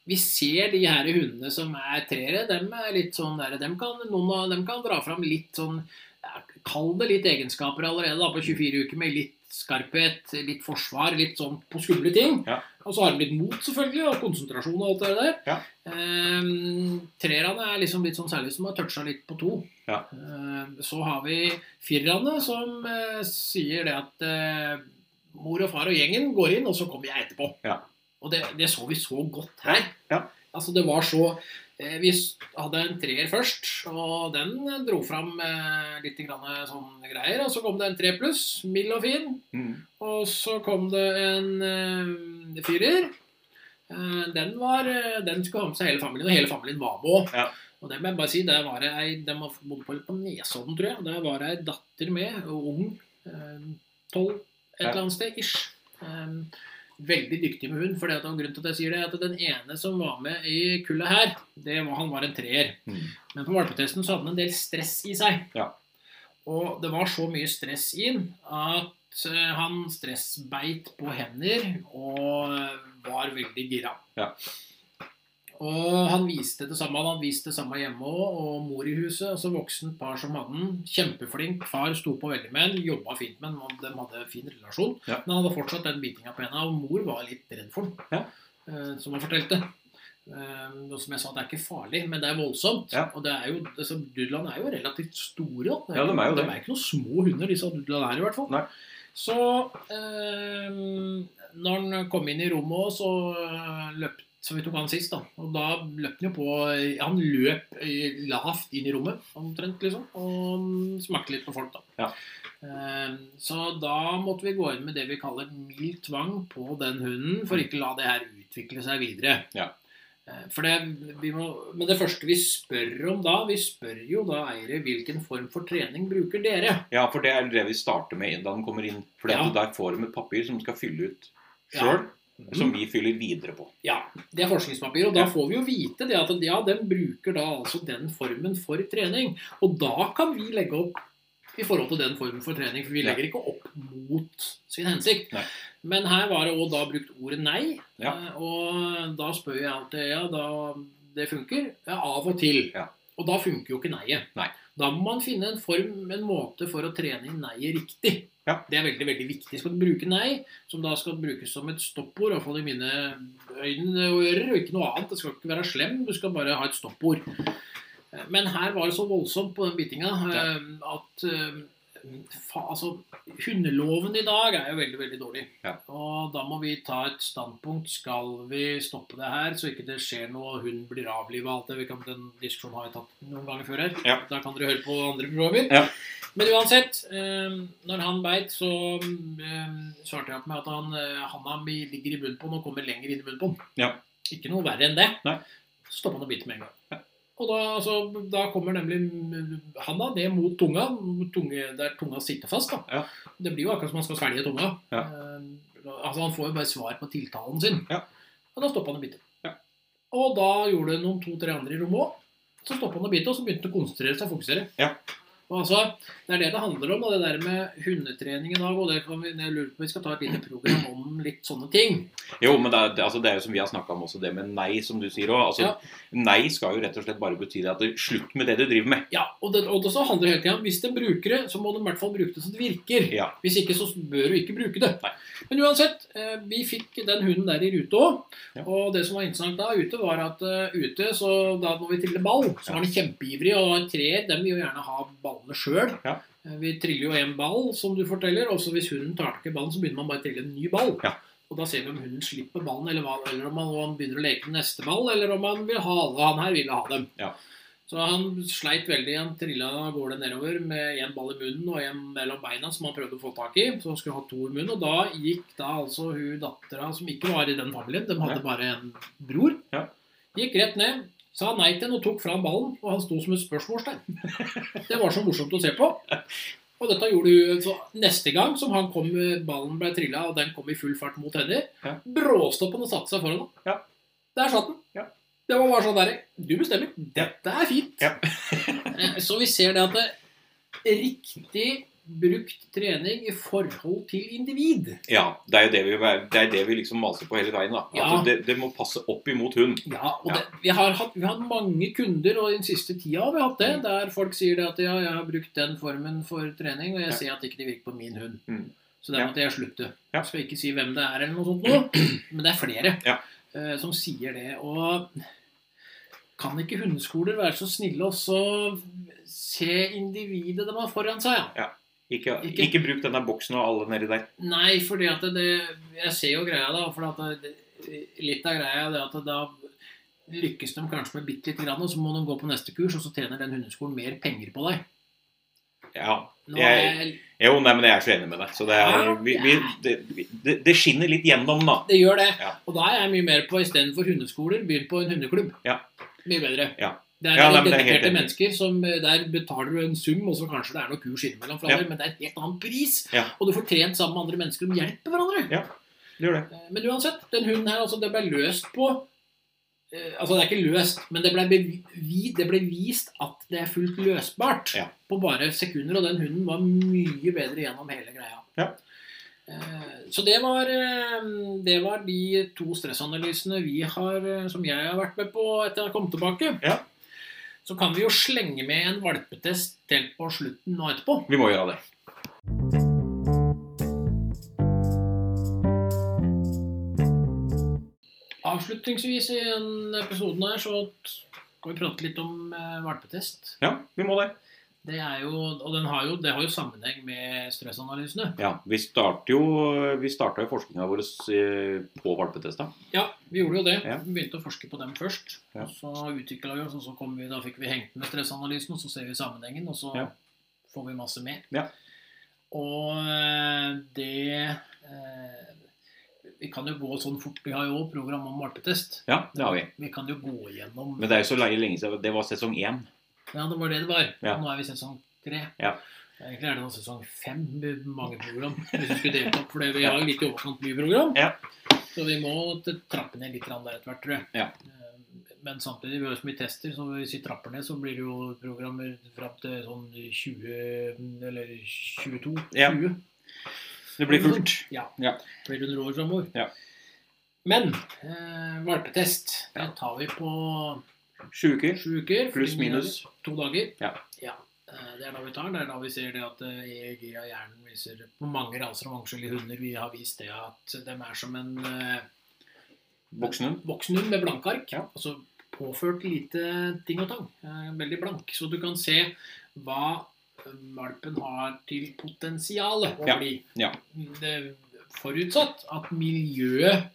B: vi ser de her hundene som er treere, dem er litt sånn der, dem kan, noen av dem kan dra fram litt sånn ja, kall det litt egenskaper allerede da, på 24 uker med litt skarphet, litt forsvar, litt sånn på skumle ting.
A: Ja.
B: Og så har han litt mot, selvfølgelig, og konsentrasjon og alt det der.
A: Ja.
B: Ehm, Trerne er liksom litt sånn særlig som har toucha litt på to.
A: Ja.
B: Ehm, så har vi firerne, som eh, sier det at eh, mor og far og gjengen går inn, og så kommer jeg etterpå.
A: Ja.
B: Og det, det så vi så godt her.
A: Ja.
B: Altså, det var så eh, Vi s- hadde en treer først, og den eh, dro fram eh, litt grann sånn greier. Og så kom det en tre pluss, mild og fin.
A: Mm.
B: Og så kom det en eh, fyrer. Eh, den, var, eh, den skulle ha med seg hele familien, og hele familien var med òg.
A: Ja.
B: Og det må jeg bare si, der var det ei De var- bodde på, på Nesodden, tror jeg. Der var det ei datter med, og ung. eh, Tolv, et
A: Ja.
B: eller annet sted. Ish. Eh, veldig dyktig med hund. For det at- og grunnen til at jeg sier det, er at den ene som var med i kullet her, det var, han var en treer.
A: Mm.
B: Men på valpetesten så hadde han en del stress i seg.
A: Ja.
B: Og det var så mye stress i den at eh, han stressbeit på hender og eh, var veldig gira.
A: Ja.
B: Og han viste det samme han viste det samme hjemme òg, og mor i huset. Altså voksent par som hadde den. Kjempeflink. Far sto på veldig med den, jobba fint med den, og de hadde fin relasjon.
A: Ja.
B: Men han hadde fortsatt den bitinga på henda, og mor var litt redd for den,
A: Ja.
B: eh, som han fortalte. Eh, og som jeg sa, det er ikke farlig, men det er voldsomt.
A: Ja.
B: Og det er jo, altså, Doodland er jo relativt store. Da. Det
A: Ja, de er jo
B: ikke-
A: det.
B: De er ikke noen små hunder, disse Doodland her i hvert fall.
A: Nei.
B: Så eh, når han kom inn i rommet også, så eh, løp så vi tok han sist, da. Og da løp han jo på Han løp eh, lavt inn i rommet, omtrent, liksom. Og smakte litt på folk, da.
A: Ja.
B: Eh, Så da måtte vi gå inn med det vi kaller mild tvang på den hunden, for ikke la det her utvikle seg videre.
A: Ja.
B: Eh, For det, vi må, men det første vi spør om da, vi spør jo da eiere hvilken form for trening bruker dere.
A: Ja, for det er det vi starter med da den kommer inn. For
B: Ja.
A: der får de et papir som skal fylle ut
B: Ja. Mm.
A: sjøl, som vi fyller videre på.
B: Ja, det er forskningspapir, og da
A: Ja.
B: får vi jo vite det at ja, den bruker da altså den formen for trening. Og da kan vi legge opp i forhold til den formen for trening, for vi
A: Ja.
B: legger ikke opp mot sin hensikt.
A: Nei.
B: Men her var det også da brukt ordet nei,
A: Ja.
B: eh, og da spør jeg alltid ja, da det funker. Ja, av og til.
A: Ja.
B: Og da funker jo ikke nei-et.
A: Nei.
B: Da må man finne en form, en måte for å trene inn nei-et riktig.
A: Ja.
B: Det er veldig, veldig viktig. Skal du bruke nei, som da skal brukes som et stoppord, iallfall i mine øyne og ører, og ikke noe annet. Det skal ikke være slem, du skal bare ha et stoppord. Eh, Men her var det så voldsomt på den bitinga eh, at eh, fa, altså, Hundeloven i dag er jo veldig, veldig dårlig.
A: Ja.
B: Og da må vi ta et standpunkt. Skal vi stoppe det her, så ikke det skjer noe, og hunden blir avliva og alt det? Vi kan, den diskusjonen har vi tatt noen ganger før her.
A: Ja.
B: Da kan dere høre på andre programmer.
A: Ja.
B: Men uansett, eh, når han beit, så eh, svarte jeg opp med at han, eh, handa mi ligger i bunnen på den og kommer lenger inn i bunnen på den.
A: Ja.
B: Ikke noe verre enn det.
A: Nei.
B: Så stoppa han og biter med en gang. Og da, altså, da kommer nemlig mm, handa det mot tunga, mot tunge, der tunga sitter fast. da.
A: Ja.
B: Det blir jo akkurat som man skal svelge tunga.
A: Ja.
B: Eh, altså, Han får jo bare svar på tiltalen sin.
A: Ja.
B: Og da stoppa han å bite.
A: Ja.
B: Og da gjorde noen to-tre andre i rommet òg. Så stoppa han å bite, og så begynte han å konsentrere seg og fokusere.
A: Ja.
B: Og altså, Det er det det handler om, og det der med hundetrening i dag. og det kan vi, jeg lurer på, Vi skal ta et lite program om litt sånne ting.
A: Jo, men det er, det- altså det er jo som vi har snakka om også, det med nei, som du sier òg. Altså,
B: Ja.
A: Nei skal jo rett og slett bare bety det at det, slutt med det du driver med.
B: Ja, og det, og det så handler det hele tiden om hvis de bruker det, så må de i hvert fall bruke det så det virker.
A: Ja.
B: Hvis ikke, så bør du ikke bruke det. Men uansett, eh, vi fikk den hunden der i rute òg.
A: Ja.
B: Og det som var interessant da ute, var at eh, ute, så da når vi triller ball, så var den kjempeivrig. Og en treer, den vil jo gjerne ha ballene sjøl.
A: Ja.
B: Eh, Vi triller jo en ball, som du forteller. Og så hvis hunden tar tak i ballen, så begynner man bare å trille en ny ball.
A: Ja.
B: Og da ser vi om hunden slipper ballen, eller, hva, eller om han, om han begynner å leke med neste ball, eller om han vil ha alle han her ville ha dem.
A: Ja.
B: Så han sleit veldig. Han trilla av gårde nedover med én ball i munnen og én mellom beina som han prøvde å få tak i. Så han skulle ha to i munnen. Og da gikk da altså hun dattera, som ikke var i den familien, de hadde
A: Ja.
B: bare en bror,
A: Ja.
B: gikk rett ned, sa nei til den og tok fra han ballen. Og han sto som et spørsmålstegn. Det var så morsomt å se på. Og dette gjorde hun så neste gang som han kom, ballen ble trilla, og den kom i full fart mot henne.
A: Ja.
B: Bråstoppen og satte seg foran ham.
A: Ja.
B: Der satt den.
A: Ja.
B: Det var bare sånn derre Du bestemmer. Dette er fint.
A: Ja.
B: Eh, så vi ser det at det, eh, riktig brukt trening i forhold til individ.
A: Ja, det er jo det vi, det er det vi liksom maser på hele veien. da. At
B: Ja.
A: det, det må passe opp imot hund.
B: Ja, og
A: Ja.
B: Det, vi, har hatt, vi har hatt mange kunder og den siste tida har vi
A: Mm.
B: hatt det, der folk sier det at ja, jeg har brukt den formen for trening, og jeg
A: Ja.
B: ser at ikke det virker på min hund.
A: Mm.
B: Så der
A: Ja.
B: måtte jeg slutte.
A: Ja.
B: Skal ikke si hvem det er, eller noe sånt nå, men det er flere
A: Ja.
B: eh, som sier det. Og kan ikke hundeskoler være så snille også å se individet de har foran seg? Ja?
A: Ikke,
B: Ikke-
A: ikke. bruk denne boksen og alle nedi der.
B: Nei, fordi at det Jeg ser jo greia, da. For at det, litt av greia er det at da lykkes de kanskje med bitte lite grann, og så må de gå på neste kurs, og så tjener den hundeskolen mer penger på deg.
A: Ja.
B: Nå er jeg,
A: Jo, nei, men jeg er så enig med deg. Så det, er,
B: Ja.
A: vi, vi, det, vi- det, det skinner litt gjennom, da.
B: det gjør det.
A: Ja.
B: Og da er jeg mye mer på istedenfor hundeskoler, begynn på en hundeklubb.
A: Ja.
B: Mye bedre.
A: Ja.
B: Det er
A: Ja, nei,
B: noen
A: men det er helt
B: dedikerte
A: enig.
B: mennesker som eh, Der betaler du en sum, og så kanskje det er noen kurs innimellom, for
A: Ja.
B: alle, men det er en helt annen pris.
A: Ja.
B: Og du får trent sammen med andre mennesker og hjelper hverandre.
A: Det gjør det.
B: Eh, Men uansett, den hunden her, altså, det ble løst på eh, Altså, det er ikke løst, men det ble, bevi, det ble vist at det er fullt løsbart
A: Ja.
B: på bare sekunder, og den hunden var mye bedre gjennom hele greia.
A: Ja.
B: Eh, Så det var, eh, det var de to stressanalysene vi har, eh, som jeg har vært med på etter jeg kom tilbake.
A: Ja.
B: Så kan vi jo slenge med en valpetest helt på slutten nå etterpå.
A: Vi må gjøre det.
B: Avslutningsvis i den episoden her så skal vi prate litt om eh, valpetest.
A: Ja, vi må det.
B: Det er jo, og den har jo, det har jo sammenheng med stressanalysene.
A: Ja, Vi starter jo, vi starta jo forskninga vår eh, på valpetesta.
B: Ja, vi gjorde jo det.
A: Ja.
B: Vi begynte å forske på dem først.
A: Ja.
B: Og så utvikla vi oss, og så kom vi, da fikk vi hengt med stressanalysen, og så ser vi sammenhengen, og så
A: Ja.
B: får vi masse med.
A: Ja.
B: Og eh, det eh, Vi kan jo gå sånn fort. Vi har jo også program om valpetest.
A: Ja, det har vi.
B: Vi kan jo gå igjennom
A: Men det er jo så lenge, lenge siden. Det var sesong én.
B: Ja, det var det det var.
A: Ja.
B: Nå er vi i sesong tre.
A: Ja.
B: Egentlig er det nå sesong fem med mange program. Hvis vi skulle delt opp, for vi har jo litt i overkant mye program.
A: Ja.
B: Så vi må t- trappe ned litt grann der etter hvert, tror jeg.
A: Ja.
B: Eh, Men samtidig, vi har jo så mye tester, så hvis vi trapper ned, så blir det jo programmer fram til sånn 20 eller 22.
A: Ja.
B: 20.
A: Det blir fullt.
B: Ja.
A: Ja.
B: Flere hundre år framover.
A: Ja.
B: Men eh, valpetest, det tar vi på
A: Sju uker.
B: Sju uker.
A: Pluss,
B: fordi
A: minus.
B: To dager.
A: Ja.
B: Eh, Det er da vi tar. Det er da vi ser det at eh, EEG av hjernen viser på mange raser og vanskelige hunder vi har vist det at de er som en eh,
A: Voksen hund.
B: voksen hund med blanke ark.
A: Ja.
B: Altså påført lite ting og tang. Eh, Veldig blank. Så du kan se hva eh, valpen har til potensial å
A: Ja.
B: bli.
A: Ja.
B: Det er forutsatt at miljøet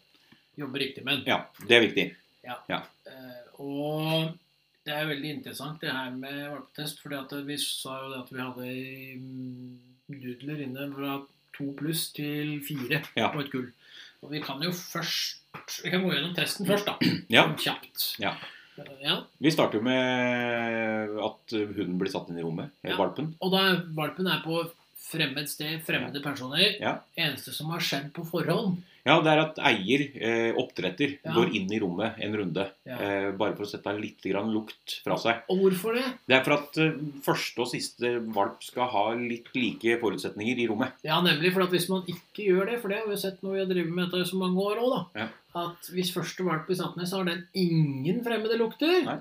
B: jobber riktig med den.
A: Ja, det er viktig.
B: Eh, og det er veldig interessant det her med valpetest, fordi at vi sa jo det at vi hadde mm, dudler inne fra to pluss til fire
A: Ja.
B: på et kull. Og vi kan jo først Vi kan gå gjennom testen først, da.
A: Ja.
B: Sånn Kjapt.
A: Ja.
B: Eh, ja.
A: Vi starter jo med at hunden blir satt inn i rommet.
B: Ja.
A: eller Valpen.
B: Og da er- valpen er på fremmed sted, fremmede personer.
A: Ja.
B: Eneste som har skjedd på forhånd.
A: Ja, det er at eier, eh, oppdretter,
B: Ja.
A: går inn i rommet en runde.
B: Ja.
A: Eh, bare for å sette litt grann lukt fra seg.
B: Og hvorfor det?
A: Det er for at eh, første og siste valp skal ha litt like forutsetninger i rommet.
B: Ja, nemlig. For at hvis man ikke gjør det, for det har vi jo sett når vi har drevet med dette i så mange år òg, da.
A: Ja.
B: At hvis første valp blir satt ned, så har den ingen fremmede lukter.
A: Nei.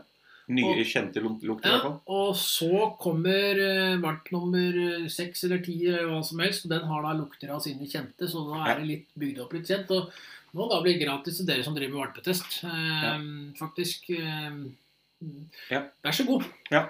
A: Nye,
B: Og-
A: kjente luk- lukter, i hvert
B: Ja,
A: fall.
B: og så kommer eh, valp nummer eh, seks eller ti eller hva som helst, og den har da lukter av sine kjente, så da
A: Ja.
B: er det litt bygd opp litt kjent. Og nå da blir det gratis til dere som driver med valpetest, eh, faktisk. Eh,
A: Ja.
B: Vær så god.
A: Ja.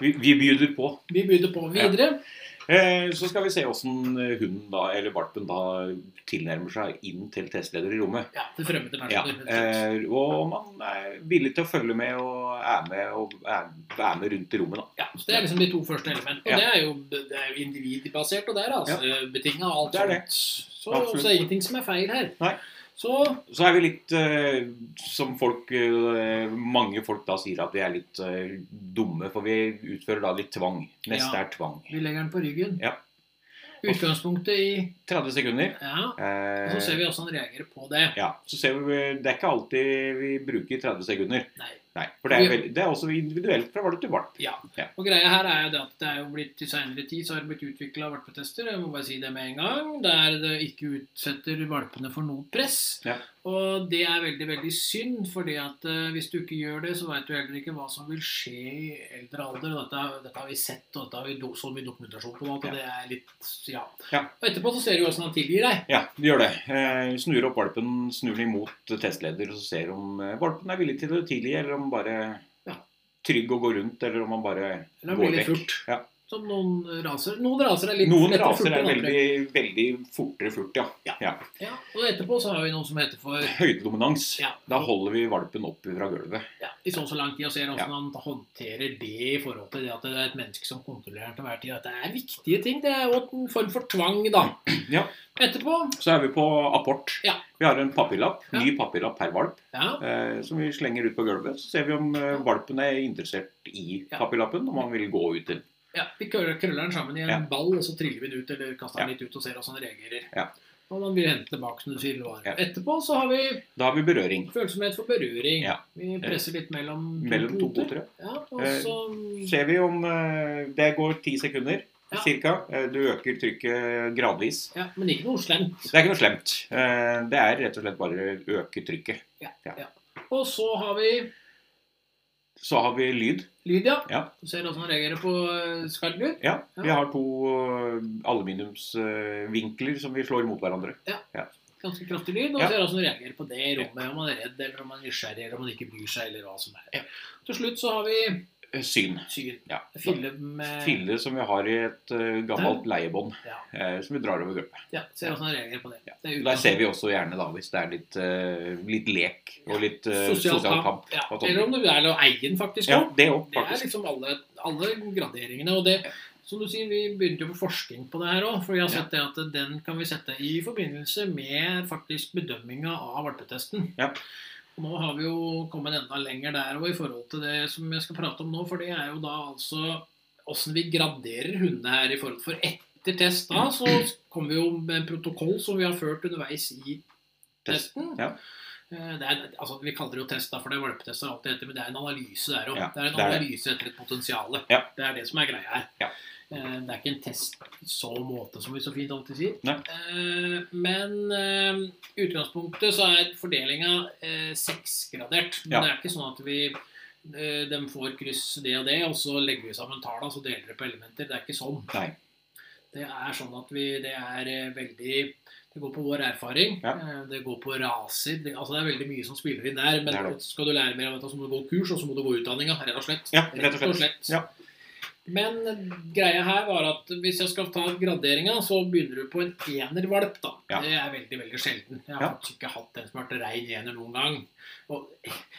A: Vi, vi byr på.
B: Vi byr på videre.
A: Eh, så skal vi se åssen hunden da, eller valpen da, tilnærmer seg inn til testleder i rommet.
B: Ja, til fremmede
A: Ja,
B: personer. rett og slett.
A: eh, og om han er villig til å følge med og er med, og er, er med rundt i rommet, da.
B: Ja, så Det er liksom de to første elementene. Og
A: Ja.
B: det, er jo, det er jo individbasert, og det er altså betinga alt
A: Det er det.
B: sånt. Så,
A: Absolutt.
B: så det er ingenting som er feil her.
A: Nei.
B: Så
A: Så er vi litt eh, som folk eh, Mange folk da sier at vi er litt eh, dumme, for vi utfører da litt tvang. Neste
B: Ja.
A: er tvang.
B: vi legger den på ryggen.
A: Ja.
B: Utgangspunktet i
A: 30 sekunder.
B: Ja. Og
A: Eh,
B: så ser vi hvordan han reagerer på det.
A: Ja, så ser vi, Det er ikke alltid vi bruker 30 sekunder.
B: Nei.
A: Nei, for det er, vel- det er også individuelt fra valp til valp.
B: Ja.
A: Ja.
B: Og greia her er jo det at det er jo blitt i senere tid så har det blitt utvikla valpetester, jeg må bare si det med en gang, der det ikke utsetter valpene for noe press.
A: Ja.
B: Og det er veldig, veldig synd, fordi at eh, hvis du ikke gjør det, så veit du heller ikke hva som vil skje i eldre alder. Og dette, dette har vi sett, og dette har vi do, så mye dokumentasjon på, at
A: Ja.
B: det er litt Ja.
A: Ja.
B: Og etterpå så ser du jo åssen han tilgir deg.
A: Ja, det gjør det. Eh, snur opp valpen, snur den imot testleder og så ser om eh, valpen er villig til det tidlig, eller om han bare
B: Ja.
A: trygg og går rundt, eller om han bare
B: Eller han
A: går
B: blir litt
A: vekk.
B: furt.
A: Ja.
B: Som noen raser. Noen raser er litt
A: Noen
B: lettere å
A: raser
B: furte
A: er
B: enn andre.
A: veldig, veldig fortere furt, ja.
B: Ja.
A: ja.
B: Ja, Og etterpå så har vi noe som heter for
A: Høydedominans.
B: ja,
A: Da holder vi valpen opp fra gulvet.
B: ja, i så og så lang tid og ser
A: Ja.
B: hvordan han håndterer det i forhold til det at det er et menneske som kontrollerer han til hver tid. At det er viktige ting. Det er jo en form for tvang, da.
A: Ja.
B: Etterpå
A: Så er vi på apport.
B: Ja.
A: Vi har en papirlapp,
B: Ja.
A: ny papirlapp per valp,
B: ja,
A: eh, som vi slenger ut på gulvet. Så ser vi om eh, valpen er interessert i
B: Ja.
A: papirlappen, om han vil gå ut til
B: ja, vi krøller, krøller den sammen i en
A: Ja.
B: ball, og så triller vi den ut eller kaster den
A: Ja.
B: litt ut og ser hvordan han reagerer.
A: Ja.
B: Og man blir hentet tilbake, som du sier. det var.
A: Ja.
B: Etterpå så har vi
A: Da har vi berøring
B: følsomhet for berøring.
A: Ja.
B: Vi presser litt mellom to
A: mellom to
B: poter.
A: potere.
B: Ja, og
A: Eh,
B: så
A: ser vi om eh, Det går ti sekunder
B: Ja.
A: cirka. Eh, Du øker trykket gradvis.
B: Ja, men ikke noe slemt.
A: Det er ikke noe slemt. Eh, Det er rett og slett bare å øke trykket.
B: Og så har vi
A: Så har vi lyd.
B: Lydia.
A: Ja.
B: Du ser hvordan han reagerer på eh, skarp lyd.
A: Ja,
B: Ja.
A: Vi har to eh, aluminiumsvinkler som vi slår mot hverandre.
B: Ganske kraftig lyd. Og
A: Ja.
B: ser hvordan han reagerer på det i rommet. Om han er redd, eller om han er nysgjerrig, eller om han ikke bryr seg, eller hva som er. Til slutt så har vi
A: Eh, Syn.
B: syn.
A: Ja.
B: Fille med
A: Fille som vi har i et eh, gammelt leiebånd
B: Ja.
A: eh, som vi drar over gulvet.
B: Ja, ser hvordan han reagerer på det.
A: Ja.
B: det er
A: Der ser vi også gjerne da hvis det er litt, eh, litt lek og litt eh,
B: sosial,
A: sosial kamp.
B: Ja.
A: og sånne
B: Eller om du er eien, faktisk.
A: Ja,
B: også.
A: det òg,
B: Det er
A: faktisk.
B: liksom alle, alle graderingene. Og det, som du sier, vi begynte jo på forskning på det her òg. For vi har sett det at den kan vi sette i forbindelse med faktisk bedømminga av valpetesten.
A: Ja.
B: Og Nå har vi jo kommet enda lenger der og i forhold til det som jeg skal prate om nå. For det er jo da altså åssen vi graderer hundene her i forhold for etter test. Da så kommer vi jo med en protokoll som vi har ført underveis i testen.
A: ja.
B: Eh, Det er, altså, vi kaller det jo test, da, for det er valpetester alltid etter, men det er en analyse der òg.
A: Ja,
B: det er en
A: det er det.
B: analyse etter et potensial.
A: Ja.
B: Det er det som er greia her.
A: Ja.
B: Eh, Det er ikke en test i så måte, som vi så fint alltid sier.
A: Nei.
B: Eh, Men eh, i utgangspunktet så er fordelinga eh, seksgradert. Men
A: Ja.
B: det er ikke sånn at vi eh, de får kryss det og det, og så legger vi sammen tallene, så deler det på elementer. Det er ikke sånn.
A: Nei.
B: Det er sånn at vi, det er eh, veldig Det går på vår erfaring.
A: Ja.
B: eh, Det går på raser. Det, altså det er veldig mye som spiller inn der. Men
A: Det er det.
B: skal du lære mer om dette, så må du gå kurs, og så må du gå utdanninga. Rett og slett.
A: Ja, rett og slett. Ja.
B: Men greia her var at hvis jeg skal ta graderinga, så begynner du på en enervalp, da.
A: Ja.
B: Det er veldig, veldig sjelden. Jeg har
A: Ja.
B: faktisk ikke hatt en som har vært rein ener noen gang. Og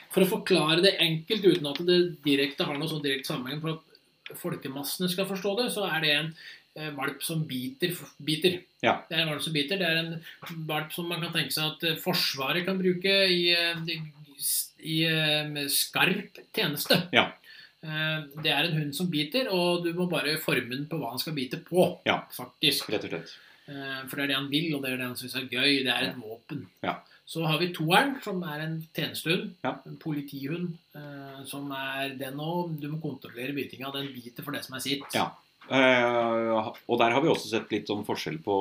B: for å forklare det enkelt uten at det direkte har noe sånn direkte sammenheng, for at folkemassene skal forstå det, så er det en eh, valp som biter. biter.
A: Ja.
B: Det er en valp som biter. Det er en valp som man kan tenke seg at eh, Forsvaret kan bruke i, eh, i eh, med skarp tjeneste.
A: Ja.
B: Eh, Det er en hund som biter, og du må bare forme den på hva han skal bite på.
A: Ja.
B: Faktisk.
A: Rett og slett.
B: Eh, For det er det han vil, og det er det han syns er gøy. Det er et våpen.
A: Ja.
B: Så har vi toeren, som er en tjenestehund.
A: Ja.
B: En politihund. eh, Som er den òg. Du må kontrollere bitinga. Den biter for det som er sitt.
A: Ja. Eh, og der har vi også sett litt sånn forskjell på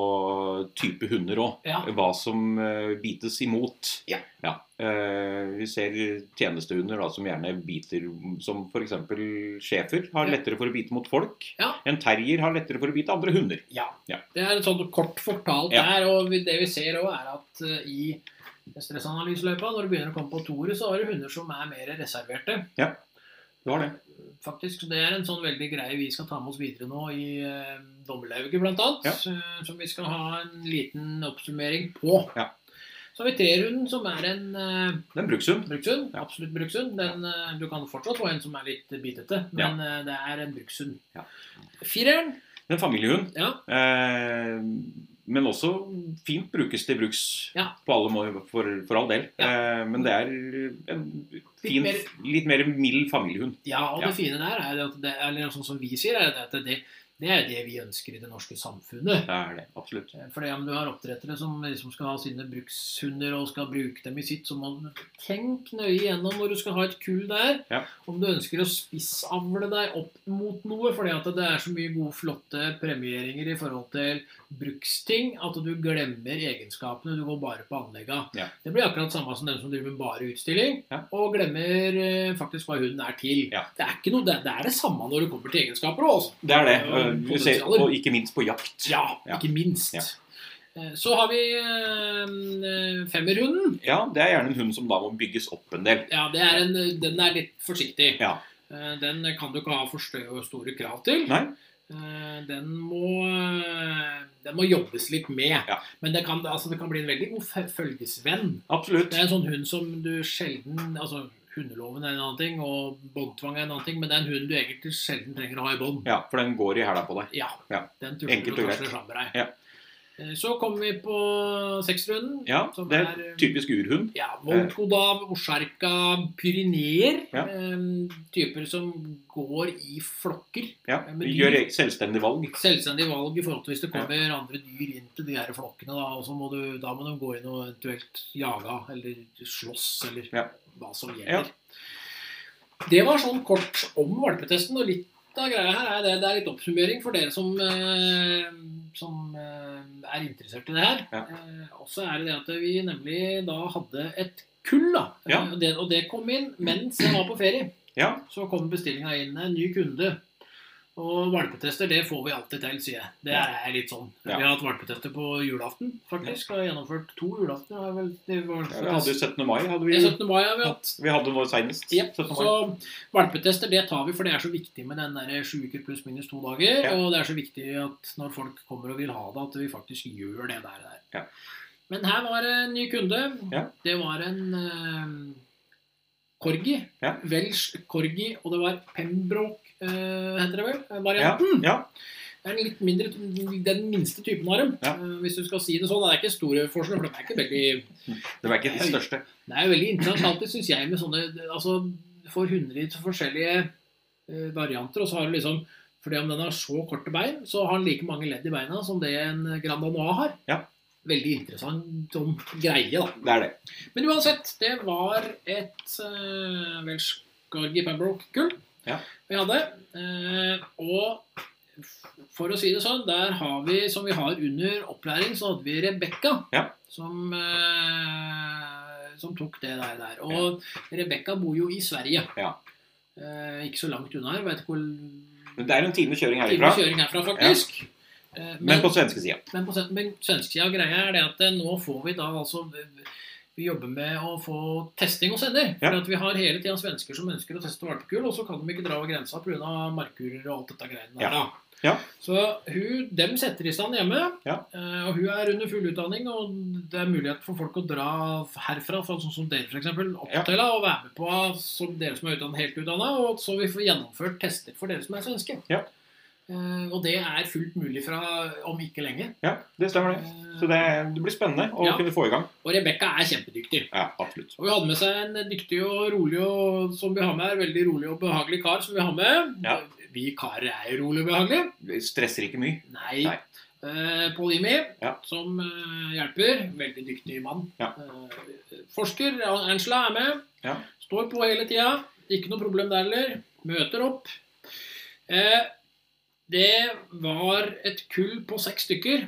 A: type hunder òg.
B: Ja.
A: Hva som eh, bites imot.
B: Ja.
A: Eh, vi ser tjenestehunder da, som gjerne biter Som f.eks. schæfer har
B: Ja.
A: lettere for å bite mot folk.
B: Ja.
A: En terrier har lettere for å bite andre hunder.
B: Ja.
A: Ja.
B: Det er et sånt kort fortalt
A: Ja.
B: der. Og vi- det vi ser òg, er at eh, i stressanalyseløypa, når du begynner å komme på toere, så har du hunder som er mer reserverte.
A: Du har det.
B: Faktisk, så Det er en sånn veldig greie vi skal ta med oss videre nå i eh, dommerlauget, blant annet.
A: Ja.
B: eh, som vi skal ha en liten oppsummering på.
A: Ja.
B: Så har vi trerunden, som er en eh,
A: Det er en brukshund.
B: brukshund.
A: Ja.
B: Absolutt brukshund. Den, eh, du kan fortsatt få en som er litt bitete,
A: Ja.
B: men eh, det er en brukshund.
A: Ja.
B: Fireren,
A: Det er en familiehund.
B: ja.
A: Eh, men også fint brukes til bruks
B: Ja.
A: på alle må- for, for all del. Eh, men det er en fin,
B: mer-
A: litt mer mild familiehund.
B: Ja, og
A: Ja.
B: det fine der er jo at det, eller sånn som vi sier, er det at det, Det er jo det vi ønsker i det norske
A: Det
B: samfunnet.
A: er det. Absolutt.
B: For det om du har oppdrettere som liksom skal ha sine brukshunder og skal bruke dem i sitt, så må du tenke nøye gjennom når du skal ha et kull der.
A: Ja.
B: Om du ønsker å spissavle deg opp mot noe, fordi at det er så mye gode, flotte premieringer i forhold til bruksting at du glemmer egenskapene. Du går bare på anlegga.
A: Ja.
B: Det blir akkurat samme som den som driver med bare utstilling
A: Ja.
B: og glemmer eh, faktisk hva hunden er til.
A: Ja.
B: Det, er ikke noe, det, det er det samme når det kommer til egenskaper også. altså.
A: Det er det.
B: Ja,
A: eh, Du ser,
B: potensialer.
A: og ikke minst på jakt.
B: Ja,
A: Ja.
B: ikke minst.
A: Ja.
B: Eh, Så har vi eh, femmerhunden.
A: Ja, det er gjerne en hund som da må bygges opp en del.
B: Ja, det er en, den er litt forsiktig.
A: Ja.
B: Eh, Den kan du ikke ha for stø- og store krav til.
A: Nei.
B: Eh, Den må, eh, den må jobbes litt med.
A: Ja.
B: Men det kan, altså, det kan bli en veldig god fe- følgesvenn.
A: Absolutt.
B: Det er en sånn hund som du sjelden altså Hundeloven er en annen ting, og båndtvang er en annen ting, men det er en hund du egentlig sjelden trenger å ha i bånd.
A: Ja, for den går i hæla på deg.
B: Ja.
A: Ja.
B: Den tuller
A: Enkelt
B: du
A: og
B: og
A: greit.
B: greit. Sammen med deg.
A: Ja.
B: Eh, Så kommer vi på sekstrunden.
A: Ja,
B: Som
A: det
B: er,
A: er
B: eh,
A: typisk urhund.
B: Ja, Volkodav, Osjarka, pyreneer.
A: Ja.
B: em, Typer som går i flokker.
A: Ja,
B: men de-
A: Gjør selvstendig valg.
B: Selvstendig valg i forhold til hvis det kommer andre dyr inn til de her flokkene. Da, og så må du, da må de gå inn og eventuelt jage eller slåss eller
A: Ja.
B: hva som gjelder. Det var sånn kort om valpetesten. Og litt av greia her er det, det er litt oppsummering for dere som, eh, som eh, er interessert i det her.
A: Ja.
B: Eh, og så er det det at vi nemlig da hadde et kull, da.
A: Ja.
B: Eh, og, det, og det kom inn mens jeg var på ferie.
A: Ja,
B: Så kom bestillinga inn en ny kunde. Og valpetester det får vi alltid til, sier jeg. Det er litt sånn.
A: Ja.
B: Vi har hatt valpetester på julaften, faktisk. Og gjennomført to julaftener. Har jeg vel, det var,
A: ja, vi hadde 17. mai. Hadde
B: Det
A: vi,
B: er 17. mai har vi hatt.
A: vi hadde nå seinest.
B: Jep,
A: 17. mai.
B: Så valpetester det tar vi, for det er så viktig med den der sju uker pluss minus to dager.
A: Ja.
B: Og det er så viktig at når folk kommer og vil ha det, at vi faktisk gjør det der. der.
A: Ja.
B: Men her var det en ny kunde.
A: Ja.
B: Det var en eh, corgi.
A: Ja.
B: Welsh corgi, og det var Pembroke, eh, heter det vel, eh,
A: Ja,
B: varianten.
A: Mm. ja,
B: Det er en litt mindre, den minste typen av dem,
A: Ja.
B: eh, hvis du skal si det sånn. Det er ikke store forskjeller, for de er ikke veldig
A: det var ikke det største.
B: det er jo veldig interessant alltid, syns jeg, med sånne Altså, du får hundrevis av forskjellige eh, varianter, og så har du liksom Fordi om den har så korte bein, så har den like mange ledd i beina som det en Grand Anois har.
A: Ja.
B: Veldig interessant sånn greie, da.
A: Det er det.
B: Men uansett, det var et uh, Welsh Gorgi Pembroke-gull
A: Ja.
B: vi hadde. Eh, og f- for å si det sånn, der har vi, som vi har under opplæring, så hadde vi Rebekka.
A: Ja.
B: Som, eh, som tok det der. der. Og Rebekka bor jo i Sverige.
A: Ja.
B: Eh, ikke så langt unna her. Veit ikke hvor
A: Men Det er en time kjøring herifra,
B: time kjøring herfra, faktisk. Eh,
A: men på svenske sida.
B: men på sen- men svenskesida greia er det at eh, nå får vi da altså Vi jobber med å få testing hos hender. For
A: Ja.
B: at vi har hele tida svensker som ønsker å teste valpekull, og så kan de ikke dra over grensa pga. markurer og alt dette greiene der.
A: Ja.
B: da.
A: Ja.
B: Så hun, dem setter i stand hjemme.
A: Ja.
B: eh, Og hun er under full utdanning, og det er mulighet for folk å dra herfra, fra sånn som dere f.eks., opp
A: Ja.
B: til da, og være med på som dere som er utdannet, helt utdanna, og så vi får gjennomført tester for dere som er svenske.
A: Ja.
B: Eh, Og det er fullt mulig fra om ikke lenge.
A: Ja, det stemmer det. Så det, det blir spennende å
B: Ja.
A: kunne få i gang.
B: Og Rebekka er kjempedyktig.
A: Ja, absolutt.
B: Og vi hadde med seg en dyktig og rolig og som vi har med her, veldig rolig og behagelig kar. som Vi har med.
A: Ja.
B: Vi karer er jo rolig og behagelig.
A: Vi stresser ikke mye.
B: Nei.
A: Nei.
B: Eh, Pål Jimmy,
A: Ja.
B: som eh, hjelper. Veldig dyktig mann.
A: Ja.
B: Eh, forsker Angela er med.
A: Ja.
B: Står på hele tida. Ikke noe problem der heller. Møter opp. Eh, det var et kull på seks stykker.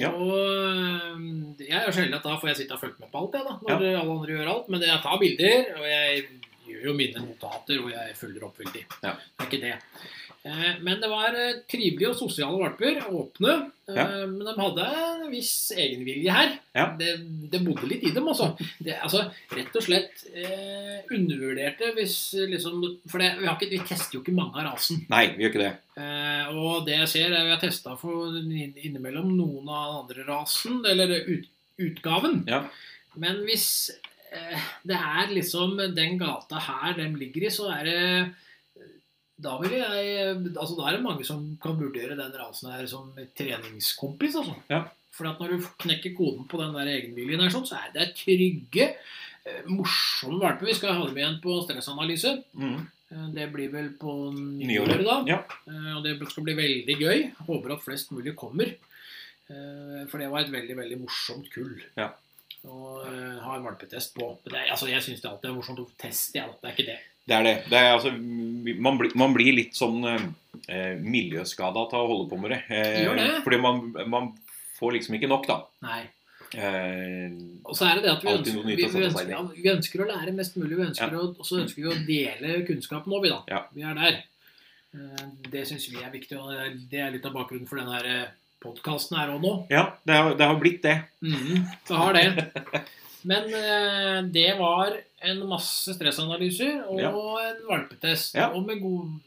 A: Ja.
B: Og eh, jeg er sjelden at da får jeg sitte og følge med på alt, jeg, da. Når alle andre gjør alt. Men jeg tar bilder, og jeg gjør jo mine notater, og jeg følger opp veldig.
A: Ja.
B: Det er ikke det. Eh, Men det var eh, trivelige og sosiale valper. Åpne. Eh,
A: Ja.
B: Men de hadde en viss egenvilje her.
A: Ja.
B: Det, det bodde litt i dem, altså. Det, altså rett og slett eh, undervurderte hvis eh, liksom For det, vi, har ikke, vi tester jo ikke mange av rasen.
A: Nei, vi gjør ikke det.
B: Eh, og det jeg ser, er vi har testa for inn- innimellom noen av den andre rasen, eller ut, utgaven.
A: Ja.
B: Men hvis eh, det er liksom den gata her de ligger i, så er det da vil jeg Altså da er det mange som kan vurdere den rasen her som treningskompis, altså.
A: Ja.
B: For at når du knekker koden på den der egenviljen her, sånn, så er det trygge, eh, morsomme valper. Vi skal ha dem igjen på stressanalyse.
A: Mm.
B: Eh, Det blir vel på nyåret,
A: Nyåret.
B: da.
A: Ja.
B: Eh, Og det skal bli veldig gøy. Håper at flest mulig kommer. Eh, For det var et veldig, veldig morsomt kull.
A: Ja.
B: Og eh, ha en valpetest på. Men Det, er- altså, jeg syns det alltid er morsomt å teste, ja. Det er ikke det.
A: Det er det. det er, altså, man, blir, man blir litt sånn eh, miljøskada av å holde på med det. Eh,
B: Gjør det.
A: Fordi man, man får liksom ikke nok, da.
B: Nei.
A: Eh,
B: Og så er det det at vi
A: Alltid
B: ønsker,
A: noe
B: vi,
A: nytt å
B: vi,
A: sette
B: ønsker,
A: seg
B: ja,
A: inn
B: vi ønsker å lære mest mulig, vi ønsker å, og så ønsker vi å dele kunnskapen òg, vi da.
A: Ja.
B: Vi er der. Eh, Det syns vi er viktig, og det er- det er litt av bakgrunnen for denne podkasten her òg nå.
A: ja, det har, det har blitt det.
B: Mhm, det har det. Men eh, det var en masse stressanalyser og en valpetest.
A: Ja.
B: Og med god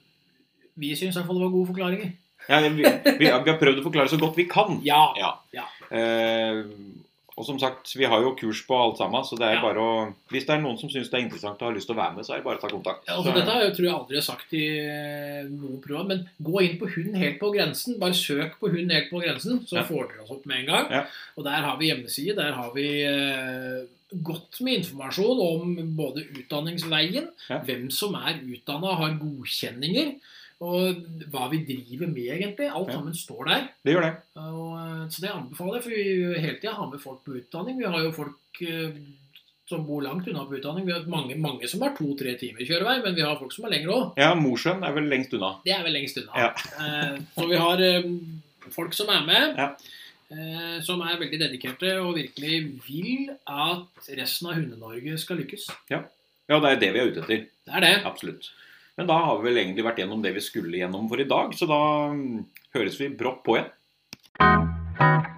B: Vi syns i hvert fall det var gode forklaringer.
A: Ja, vi, vi, har- vi har prøvd å forklare så godt vi kan.
B: Ja.
A: Ja.
B: Ja.
A: Eh, og som sagt, vi har jo kurs på alt sammen, så det er
B: Ja.
A: bare å Hvis det er noen som syns det er interessant og har lyst til å være med, så er det bare å ta kontakt.
B: Ja, Altså,
A: Så-
B: dette har jeg, tror jeg aldri har sagt i eh, noe program, men gå inn på Hund helt på grensen. Bare søk på Hund helt på grensen, så
A: Ja.
B: får dere oss opp med en gang.
A: Ja.
B: Og der har vi hjemmeside. Der har vi eh, godt med informasjon om både utdanningsveien,
A: Ja.
B: hvem som er utdanna, har godkjenninger, og hva vi driver med, egentlig. Alt
A: Ja.
B: sammen står der.
A: det gjør det.
B: Og, eh, så det anbefaler jeg, for vi hele tida har med folk på utdanning. Vi har jo folk eh, som bor langt unna på utdanning. Vi har mange, mange som har to-tre timer kjørevei, men vi har folk som er lengre òg.
A: Ja, Mosjøen er vel lengst unna.
B: Det er vel lengst unna.
A: Ja.
B: Eh, Så vi har eh, folk som er med,
A: Ja.
B: eh, som er veldig dedikerte og virkelig vil at resten av Hunde-Norge skal lykkes.
A: Ja, det er det vi er ute etter.
B: Det er det.
A: Absolutt. Men da har vi vel egentlig vært gjennom det vi skulle gjennom for i dag, så da mm, høres vi brått på igjen.